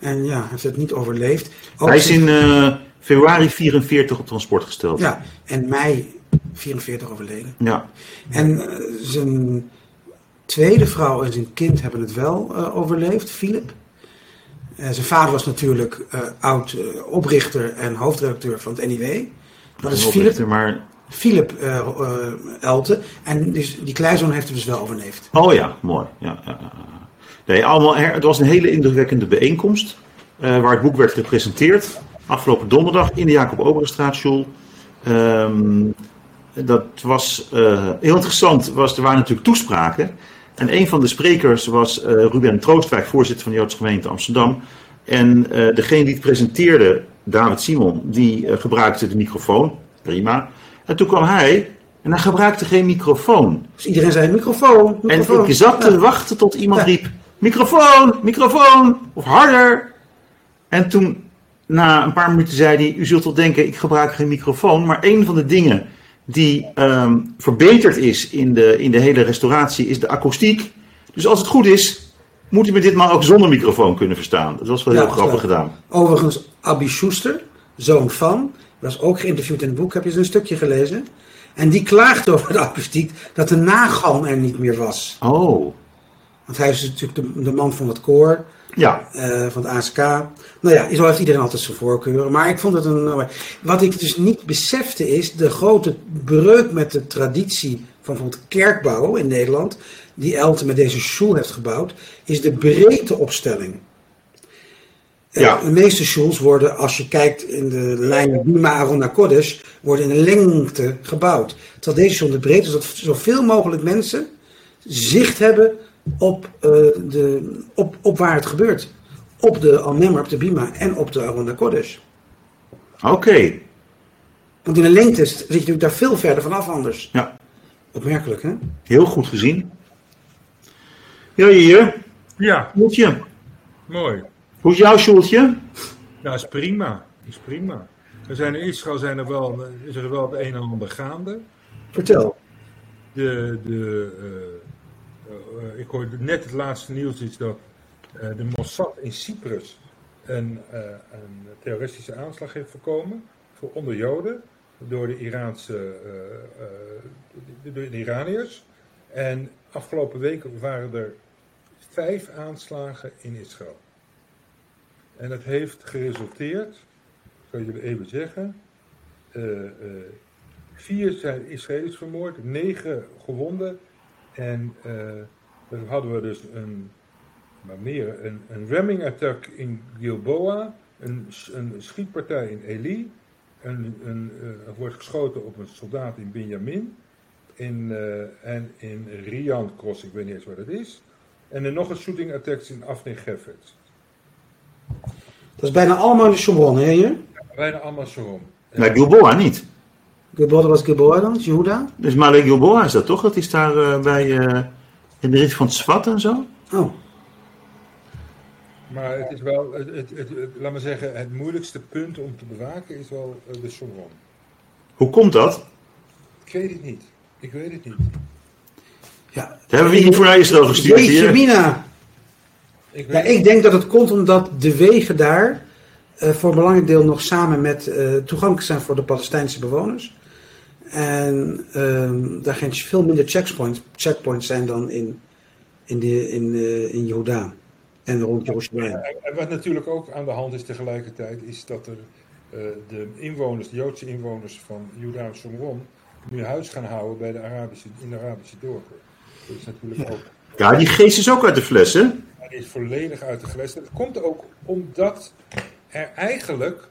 C: En ja, hij heeft het niet overleefd. Ook
A: Hij is
C: zich-
A: in eh, februari 44 op transport gesteld.
C: Ja, en mei 44 overleden.
A: ja.
C: En eh, zijn tweede vrouw en zijn kind hebben het wel eh, overleefd, Philip. Eh, zijn vader was natuurlijk eh, oud eh, oprichter en hoofdredacteur van het NIW. Dat is Philip
A: Maar...
C: Philip eh eh, Elte. En dus die kleinzoon heeft het dus wel overleefd.
A: Oh ja, mooi. Ja, ja, ja. Nee, allemaal her- het was een hele indrukwekkende bijeenkomst. eh, waar het boek werd gepresenteerd. Afgelopen donderdag in de Jacob Oberenstraatschool. Ehm dat was eh, heel interessant. Was, er waren natuurlijk toespraken. En een van de sprekers was eh, Ruben Troostwijk, voorzitter van de Joodse gemeente Amsterdam. En eh, degene die het presenteerde, David Simon, die eh, gebruikte de microfoon. Prima. En toen kwam hij en hij gebruikte geen microfoon.
C: Dus iedereen zei microfoon, microfoon. Nou,
A: En ik zat te
C: Ja.
A: wachten tot iemand
C: Ja.
A: riep: microfoon, microfoon, of harder. En toen, na een paar minuten, zei hij: U zult wel denken, ik gebruik geen microfoon. Maar een van de dingen die ehm, verbeterd is in de, in de hele restauratie is de akoestiek. Dus als het goed is, moet u me ditmaal ook zonder microfoon kunnen verstaan. Dat was wel heel
C: Ja,
A: grappig
C: zo.
A: gedaan.
C: nou, Overigens, Abby Schuster, zoon van, was ook geïnterviewd in het boek. Heb je eens een stukje gelezen? En die klaagde over de akoestiek dat de nagalm er niet meer was.
A: Oh,
C: Want hij is natuurlijk de, de man van het koor,
A: ja.
C: eh, van het ASK. Nou ja, zo heeft iedereen altijd zijn voorkeuren. Maar ik vond het een. nou, Wat ik dus niet besefte is de grote breuk met de traditie van bijvoorbeeld kerkbouw in Nederland, die Elten met deze school heeft gebouwd, is de breedteopstelling. Eh,
A: Ja.
C: De meeste schools worden, als je kijkt in de lijn Bima Arona Kodesh, worden in lengte gebouwd. Terwijl deze school de breedte is dat zoveel mogelijk mensen zicht hebben op, eh, de, op, op waar het gebeurt. Op de Alnemmer, op de Bima en op de Arona Kodesh.
A: Oké.
C: Want in de lengte is- zit je natuurlijk daar veel verder vanaf anders.
A: Ja,
C: Opmerkelijk, hè?
A: heel goed gezien. Ja, hier,
B: Ja,
A: Sjoeltje.
B: mooi.
A: Hoe is jouw Sjoeltje?
B: Nou, is prima. Is prima. Er zijn in Israël zijn er wel, is er wel het een en ander gaande.
C: Vertel.
B: De, de, eh, eh, ik hoorde net het laatste nieuws is dat eh, de Mossad in Cyprus een, eh, een terroristische aanslag heeft voorkomen voor onder Joden door de Iraanse eh, eh, door de Iraniërs. En afgelopen week waren er vijf aanslagen in Israël. En dat heeft geresulteerd, ik kan jullie even zeggen, eh, eh, vier zijn Israëli's vermoord, negen gewonden. En eh, dan hadden we dus een maar meer, een, een ramming attack in Gilboa, een, s- een schietpartij in Eli, een, een, eh, er wordt geschoten op een soldaat in Benjamin, in, eh, en in Rian Cross, ik weet niet eens waar dat is, en er nog een shooting attack in Afne Geffert.
C: Dat is bijna allemaal in de Sharon, hè? hier?
B: Bijna allemaal Sharon.
A: Maar Gilboa niet.
C: Gilboa was Gilboa dan, Jehuda.
A: Dus Malik Gilboa is dat toch? Dat is daar eh, bij eh, in de rit van het Zwart en zo?
C: Oh,
B: Maar het is wel, het, het, het- het- laat maar zeggen, het moeilijkste punt om te bewaken is wel eh, de Sharon.
A: Hoe komt dat?
B: Ik weet het niet. Ik weet het niet.
C: ja.
A: Hebben we hier voor naar Israël gestuurd?
C: Jeetje,
A: Hier?
C: Mina.
B: Ik weet
C: Ja, ik denk dat het komt omdat de wegen daar eh, voor een belangrijk deel nog samen met eh, toegankelijk zijn voor de Palestijnse bewoners. En ehm, daar geen veel minder checkpoints, checkpoints zijn dan in, in, de, in, eh in Jordaan en rond Jeruzalem.
B: En- En wat natuurlijk ook aan de hand is tegelijkertijd, is dat er eh, de inwoners, de Joodse inwoners van Juda en Shomron, nu huis gaan houden bij de Arabische, in de Arabische dorpen. Dat is natuurlijk ook,
A: Ja, die geest is ook uit de fles, hè?
B: dat is volledig uit de geles. Dat komt ook omdat er eigenlijk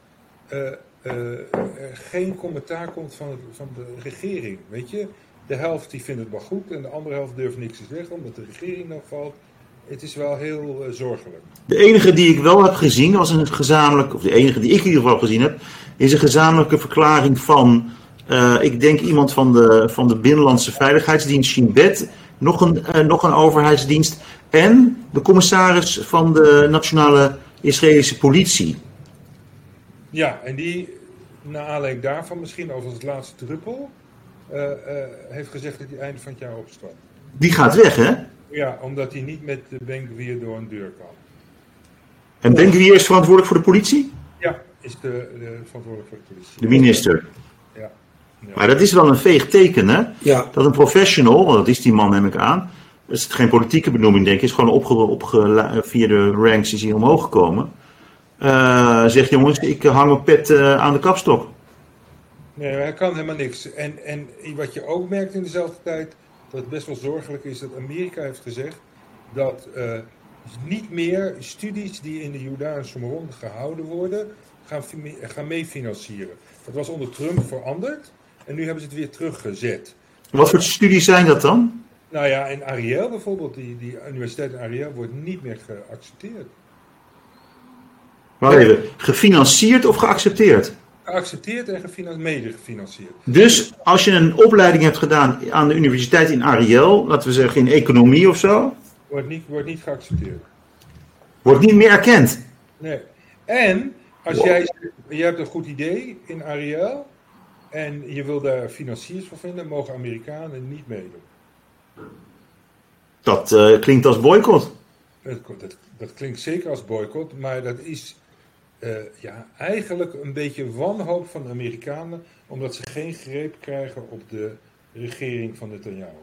B: eh, eh, er geen commentaar komt van, het- van de regering. Weet je, de helft die vindt het wel goed en de andere helft durft niks te zeggen omdat de regering nog valt. Het is wel heel eh, zorgelijk.
A: De enige die ik wel heb gezien was een gezamenlijk, of de enige die ik in ieder geval gezien heb, is een gezamenlijke verklaring van, eh, ik denk iemand van de, van de Binnenlandse Veiligheidsdienst, Shin Bet, nog een, eh, nog een overheidsdienst en de commissaris van de Nationale Israëlische Politie.
B: Ja, en die, naar aanleiding daarvan, misschien over het laatste druppel, eh, eh, heeft gezegd dat hij einde van het jaar opstapt.
A: Die gaat weg, hè?
B: Ja, omdat hij niet met de bank weer door een deur kan.
A: En Ben Grier is verantwoordelijk voor de politie?
B: Ja, is de, de verantwoordelijk voor de politie.
A: De minister.
B: Ja. Ja.
A: Maar dat is wel een veeg teken, hè?
C: Ja,
A: Dat een professional, want dat is die man neem ik aan, is het geen politieke benoeming denk ik, is gewoon opge, opge, via de ranks is hij omhoog gekomen. Eh, zegt jongens, ik hang mijn pet eh, aan de kapstok.
B: Nee, hij kan helemaal niks. En, en wat je ook merkt in dezelfde tijd, dat best wel zorgelijk is, dat Amerika heeft gezegd dat eh, niet meer studies die in de Jordaan Someron gehouden worden, gaan, fi- gaan meefinancieren. Dat was onder Trump veranderd en nu hebben ze het weer teruggezet.
A: Wat voor studies zijn dat dan?
B: Nou ja, en Ariel bijvoorbeeld, die, die universiteit in Ariel wordt niet meer geaccepteerd.
A: Wacht even, gefinancierd of geaccepteerd?
B: Geaccepteerd en gefinan- mede gefinancierd.
A: Dus als je een opleiding hebt gedaan aan de universiteit in Ariel, laten we zeggen in economie of zo,
B: Wordt niet, wordt niet geaccepteerd.
A: wordt niet meer erkend.
B: Nee. En als jij zegt, je hebt een goed idee in Ariel en je wil daar financiers voor vinden, mogen Amerikanen niet meedoen.
A: Dat eh, klinkt als boycott.
B: Dat, dat, dat klinkt zeker als boycott, maar dat is eh, ja, eigenlijk een beetje wanhoop van de Amerikanen, omdat ze geen greep krijgen op de regering van Netanyahu.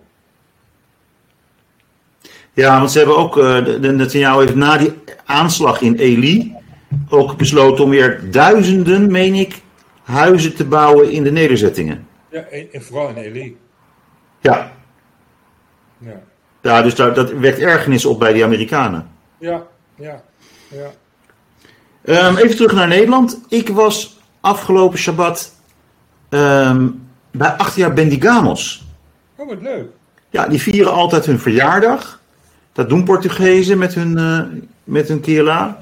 A: Ja, want ze hebben ook, eh, de de Netanyahu heeft na die aanslag in Eli ook besloten om weer duizenden, meen ik, huizen te bouwen in de nederzettingen.
B: Ja, en, en vooral in Eli.
A: Ja.
B: Ja,
A: Ja, dus daar, dat wekt ergernis op bij die Amerikanen.
B: ja, ja. ja.
A: Ehm, even terug naar Nederland. Ik was afgelopen Shabbat ehm, bij acht jaar Bendigamos.
B: Oh, wat leuk.
A: Ja, die vieren altijd hun verjaardag. Dat doen Portugezen met hun, eh met hun Kela.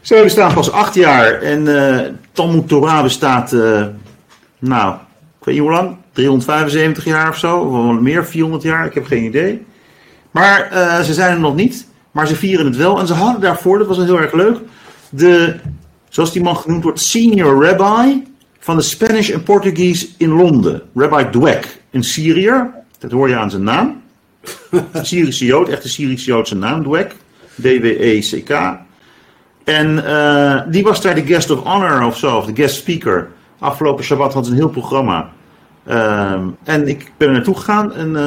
A: Zij bestaan pas acht jaar en eh Talmud Torah bestaat, eh, nou, ik weet niet hoe lang, 375 jaar of zo, of wel meer, 400 jaar, ik heb geen idee. Maar eh, ze zijn er nog niet, maar ze vieren het wel. En ze hadden daarvoor, dat was heel erg leuk, de, zoals die man genoemd wordt, senior rabbi van de Spanish en Portuguese in Londen. Rabbi Dweck, een Syriër, dat hoor je aan zijn naam. Een Syrische Jood, echt een Syrische Jood, zijn naam, Dweck. D-W-E-C-K. E En eh, die was daar de guest of honor of zo, of de guest speaker. Afgelopen Shabbat had ze een heel programma. Ehm, en ik ben er naartoe gegaan. En eh,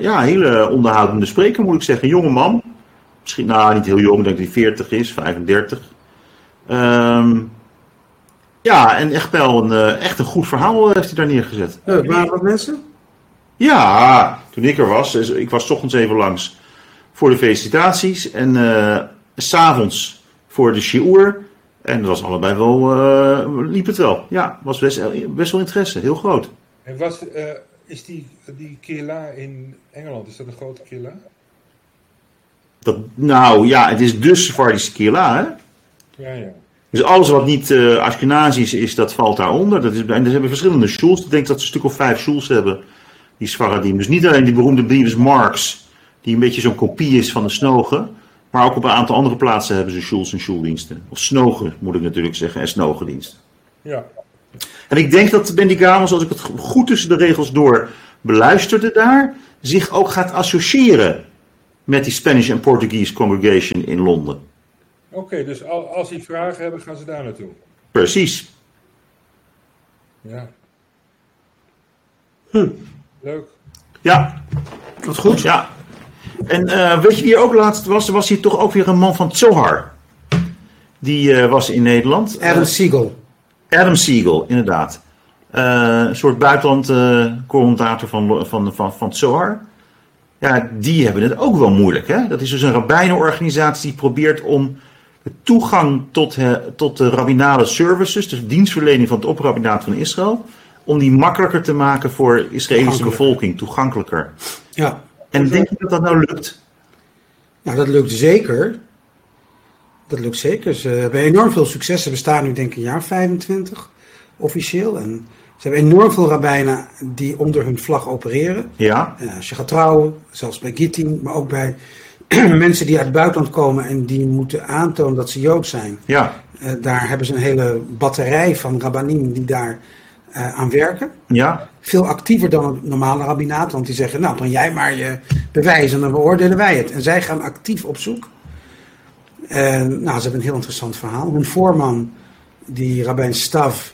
A: ja, een hele onderhoudende spreker moet ik zeggen. Een jonge man. Misschien, nou niet heel jong, ik denk dat hij 40 is, 35. Ehm, ja, en echt wel een, eh, echt een goed verhaal heeft hij daar neergezet.
C: Eh, waren dat mensen?
A: Ja, toen ik er was, dus ik was 's ochtends even langs voor de felicitaties en eh, s s'avonds voor de shiur. En dat was allebei wel, eh, liep het wel. Ja, was best, eh, best wel interesse, heel groot.
B: En was, eh, is die, die Kirla in Engeland, is dat een grote Kirla?
A: Dat, nou ja, het is dus Sephardische Kila, hè?
B: Ja, ja.
A: Dus alles wat niet eh Ashkenazisch is, dat valt daaronder. Dat is, en ze hebben verschillende schools. Ik denk dat ze een stuk of vijf schools hebben, die Sfaradim. Dus niet alleen die beroemde Beavis Marks, die een beetje zo'n kopie is van de Snogen. Maar ook op een aantal andere plaatsen hebben ze schools en schooldiensten. Of Snogen, moet ik natuurlijk zeggen, en Snogendiensten.
B: Ja,
A: En ik denk dat Bendy Gamels, als ik het goed tussen de regels door beluisterde daar, zich ook gaat associëren met die Spanish en Portuguese congregation in Londen.
B: oké, dus al, als die vragen hebben, gaan ze daar naartoe.
A: Precies.
B: Ja. Hm. Leuk.
A: Ja,
C: Wat goed.
A: Ja. En eh, weet je wie er ook laatst was? Er was hier toch ook weer een man van Zohar. Die eh, was in Nederland.
C: Adam Siegel.
A: Eh, Adam Siegel, inderdaad. Eh, een soort buitenland eh, commentator van, van, van, van Zohar. Ja, die hebben het ook wel moeilijk. Hè? Dat is dus een rabbijnenorganisatie die probeert om de toegang tot, eh, tot de rabbinale services, dus de dienstverlening van het oprabbinaat van Israël, om die makkelijker te maken voor de Israëlische
C: Toegankelijker.
A: bevolking, toegankelijker.
C: Ja.
A: En denk je dat dat nou lukt?
C: Nou, dat lukt zeker. Dat lukt zeker. Ze hebben enorm veel succes. Ze bestaan nu denk ik een jaar of 25 officieel. En ze hebben enorm veel rabbijnen die onder hun vlag opereren.
A: Ja,
C: En als je gaat trouwen, zelfs bij Gittin, maar ook bij mensen die uit het buitenland komen en die moeten aantonen dat ze Jood zijn.
A: ja,
C: Eh, daar hebben ze een hele batterij van rabbanim die daar eh, aan werken.
A: ja,
C: Veel actiever dan het normale rabbinaat, want die zeggen, nou breng jij maar je bewijs en dan beoordelen wij het. En zij gaan actief op zoek. En nou, ze hebben een heel interessant verhaal. Hun voorman, die rabbijn Stav,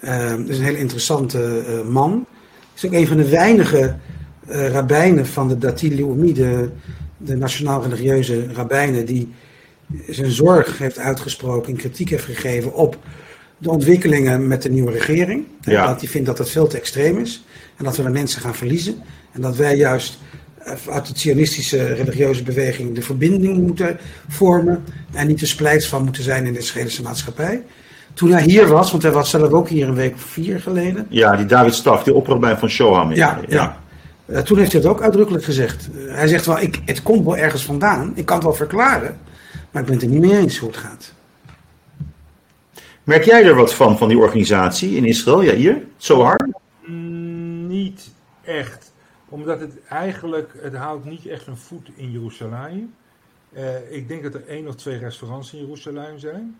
C: eh, is een heel interessante eh, man. Is ook een van de weinige eh rabbijnen van de Dati Leumi, de, de nationaal religieuze rabbijnen, die zijn zorg heeft uitgesproken en kritiek heeft gegeven op de ontwikkelingen met de nieuwe regering.
A: Ja.
C: Dat hij vindt dat dat veel te extreem is en dat we de mensen gaan verliezen. En dat wij juist eh, uit de sionistische religieuze beweging de verbinding moeten vormen en niet de splijts van moeten zijn in de Israëlische maatschappij. Toen hij hier was, want hij was zelf ook hier een week of vier geleden,
A: ja, die David Staf, die oprabbijn van Shoham.
C: ja, ja. Eh, toen heeft hij het ook uitdrukkelijk gezegd. Eh, hij zegt wel, ik, het komt wel ergens vandaan. Ik kan het wel verklaren. Maar ik ben het er niet mee eens hoe het gaat.
A: Merk jij er wat van, van die organisatie in Israël? Ja, hier? Zohar?
B: Mm, Niet echt. Omdat het eigenlijk, het houdt niet echt een voet in Jeruzalem. Eh, ik denk dat er één of twee restaurants in Jeruzalem zijn.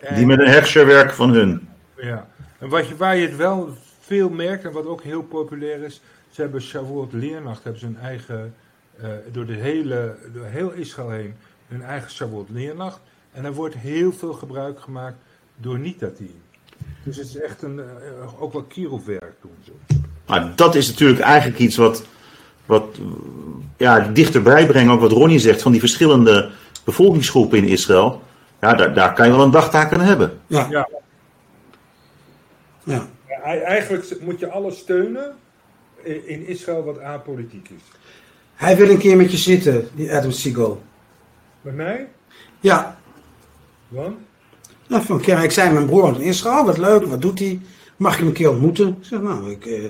B: En,
A: Die met een hechserwerk van hun.
B: ja. en wat je, waar je het wel veel merkt en wat ook heel populair is, ze hebben Shavuot Leernacht, hebben ze hun eigen, eh, door, de hele, door heel Israël heen, hun eigen Shavuot Leernacht. En daar wordt heel veel gebruik gemaakt door niet-dat-team. Dus het is echt een, eh, ook wel kierofwerk doen ze.
A: Maar dat is natuurlijk eigenlijk iets wat, wat ja, dichterbij brengt, ook wat Ronnie zegt, van die verschillende bevolkingsgroepen in Israël. Ja, daar, daar kan je wel een dagtaak aan hebben.
C: Ja.
B: Ja.
C: Ja.
B: Ja, ei- Eigenlijk moet je alles steunen i- in Israël wat apolitiek is.
C: Hij wil een keer met je zitten, die Adam Siegel.
B: Bij mij?
C: Ja.
B: Want?
C: Nou, van, ja, ik zei mijn broer woont in Israël. Wat leuk, wat doet hij? Mag ik hem een keer ontmoeten? Ik zeg, nou, ik eh,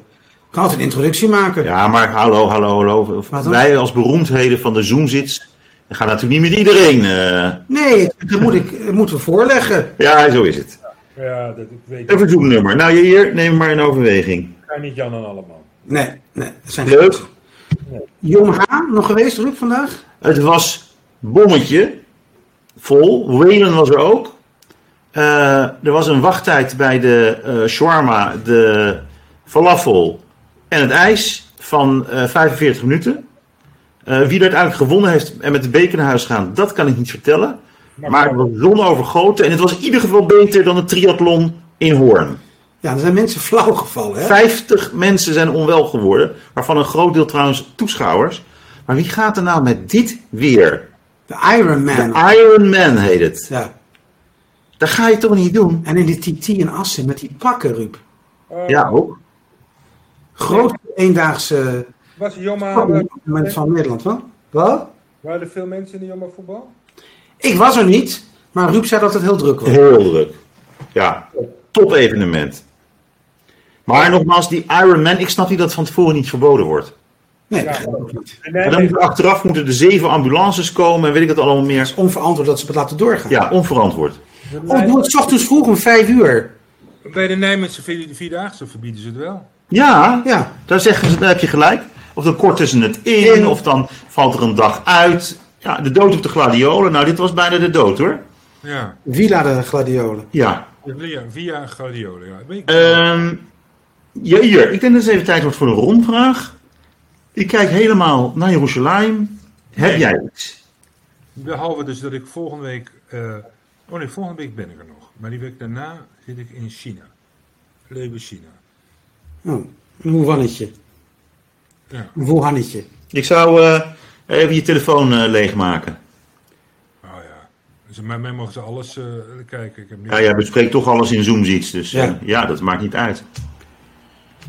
C: kan altijd een introductie maken.
A: Ja, maar hallo, hallo, hallo.
C: Wat dan?
A: Wij als beroemdheden van de Zoomzits gaan natuurlijk niet met iedereen. eh.
C: Nee, dat moet ik, dat moeten we voorleggen.
A: Ja, zo is het.
B: Ja, dat ik weet
A: Een verzoeknummer. Nou, hier, neem maar in overweging.
B: ik. ga niet Jan en allemaal.
C: Nee, nee. Dat zijn
A: Leuk.
C: Jong Ha, nog geweest, Ruud, vandaag?
A: Het was bommetje. Vol. Whalen was er ook. Eh, er was een wachttijd bij de eh shawarma, de falafel en het ijs van eh, 45 minuten. Eh, wie er uiteindelijk gewonnen heeft en met de beker naar huis gaan, dat kan ik niet vertellen. Maar het was zonovergoten en het was in ieder geval beter dan het triathlon in Hoorn.
C: Ja, er zijn mensen flauw gevallen. Hè?
A: 50 mensen zijn onwel geworden, waarvan een groot deel trouwens toeschouwers. Maar wie gaat er nou met dit weer?
C: De Iron Man.
A: De Iron Man heet het.
C: ja.
A: Dat ga je toch niet doen?
C: En in die TT in Assen met die pakken, Ruud.
B: Oh,
A: Ja, ook.
C: Grootste eendaagse
B: Was Jomma, eh,
C: voetbalmoment van Nederland, wel? Wat?
B: waren er veel mensen in de Jomma voetbal?
C: Ik was er niet, maar Ruud zei dat het heel druk was.
A: Heel druk. Ja, top evenement. Maar nogmaals, die Iron Man, ik snap niet dat het van tevoren niet verboden wordt.
C: Nee,
B: Ja.
C: dat begrijp ik ook niet.
B: En
A: En
B: daar
A: dan
B: heb
A: moeten
B: ik-
A: achteraf moeten er zeven ambulances komen en weet ik het allemaal meer.
C: Het is onverantwoord dat ze het laten doorgaan.
A: Ja, onverantwoord. Oh,
C: Of doe het 's ochtends vroeg om vijf uur.
B: bij de Nijmeegse vier- Vierdaagse verbieden ze het wel.
A: Ja,
C: Ja,
A: daar zeggen ze, daar heb je gelijk. Of dan korten ze het in,
C: In.
A: of dan valt er een dag uit. Ja, de dood op de gladiolen. Nou, dit was bijna de dood hoor.
B: Ja,
C: Villa de Gladiolen.
A: Ja.
B: via, via Guardiola. Ja. Ben ik-
A: Ehm ja, hier, ik denk dat het even tijd wordt voor een rondvraag. Ik kijk helemaal naar Jeruzalem. Heb
B: Nee.
A: jij iets?
B: Behalve dus dat ik volgende week. eh, oh nee, volgende week ben ik er nog. Maar die week daarna zit ik in China. Lebe China.
C: Oh, een woehannetje.
B: Ja.
C: Een woehannetje.
A: Ik zou eh, even je telefoon eh, leegmaken.
B: Oh ja. Dus bij mij mogen ze alles eh, kijken. Ik heb niet...
A: Ja, jij bespreekt toch alles in Zoom iets, dus eh,
C: Ja.
A: ja. dat maakt niet uit.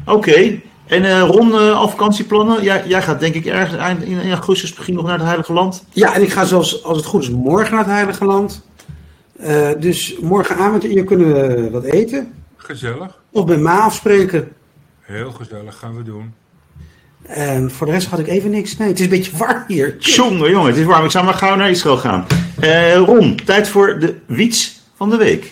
A: Oké, en eh Ron, eh, al vakantieplannen? Jij, jij gaat denk ik ergens eind in, in augustus misschien nog naar het Heilige Land.
C: Ja, en ik ga zelfs, als het goed is, morgen naar het Heilige Land. Eh, dus morgenavond hier kunnen we wat eten.
B: Gezellig.
C: Of bij Ma afspreken.
B: Heel gezellig gaan we doen.
C: En voor de rest had ik even niks. Nee, het is een beetje warm hier.
A: Jongen, jongen, het is warm. Ik zou maar gauw naar Israël gaan. Eh, Ron, tijd voor de wiets van de week.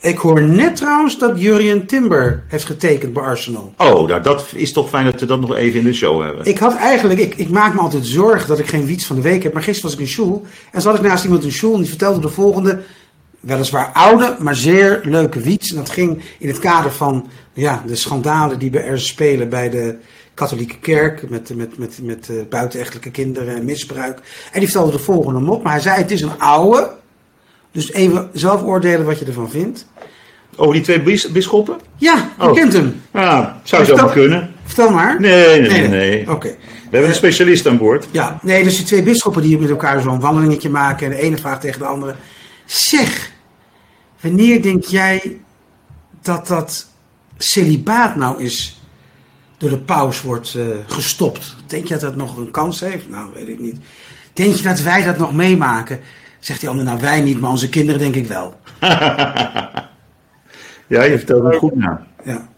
C: Ik hoor net trouwens dat Jurien Timber heeft getekend bij Arsenal.
A: Oh, nou, dat is toch fijn dat we dat nog even in de show hebben.
C: Ik had eigenlijk, ik, ik maak me altijd zorgen dat ik geen wiets van de week heb. Maar gisteren was ik in school en zat ik naast iemand in school en die vertelde de volgende, weliswaar oude, maar zeer leuke wiets. En dat ging in het kader van ja, de schandalen die bij er spelen bij de katholieke kerk. Met, met, met, met eh, buitenechtelijke kinderen en misbruik. En die vertelde de volgende mop. Maar hij zei, het is een oude. Dus even zelf oordelen wat je ervan vindt.
A: Over die twee bis bisschoppen?
C: Ja, je
A: Oh.
C: kent hem.
A: Ja, zou
C: Is dat-
A: zomaar kunnen.
C: Vertel maar.
A: Nee, nee, Oh. nee.
C: Oké.
A: We hebben een specialist aan boord.
C: Ja, nee, dus die twee bisschoppen die met elkaar zo'n wandelingetje maken. En de ene vraagt tegen de andere. Zeg, wanneer denk jij dat dat celibaat nou is door de paus wordt eh, gestopt? Denk je dat dat nog een kans heeft? Nou, weet ik niet. Denk je dat wij dat nog meemaken? Zegt die ander, nou wij niet, maar onze kinderen denk ik wel.
A: Ja, je vertelt het goed na.
C: Ja.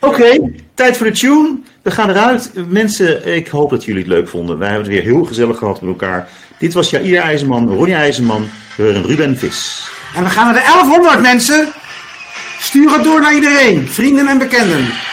A: Oké, tijd voor de tune. We gaan eruit. Mensen, ik hoop dat jullie het leuk vonden. Wij hebben het weer heel gezellig gehad met elkaar. Dit was Jair IJzerman, Ronja IJzerman, Ruben Vis.
C: En we gaan naar de 1100 mensen. Stuur het door naar iedereen, vrienden en bekenden.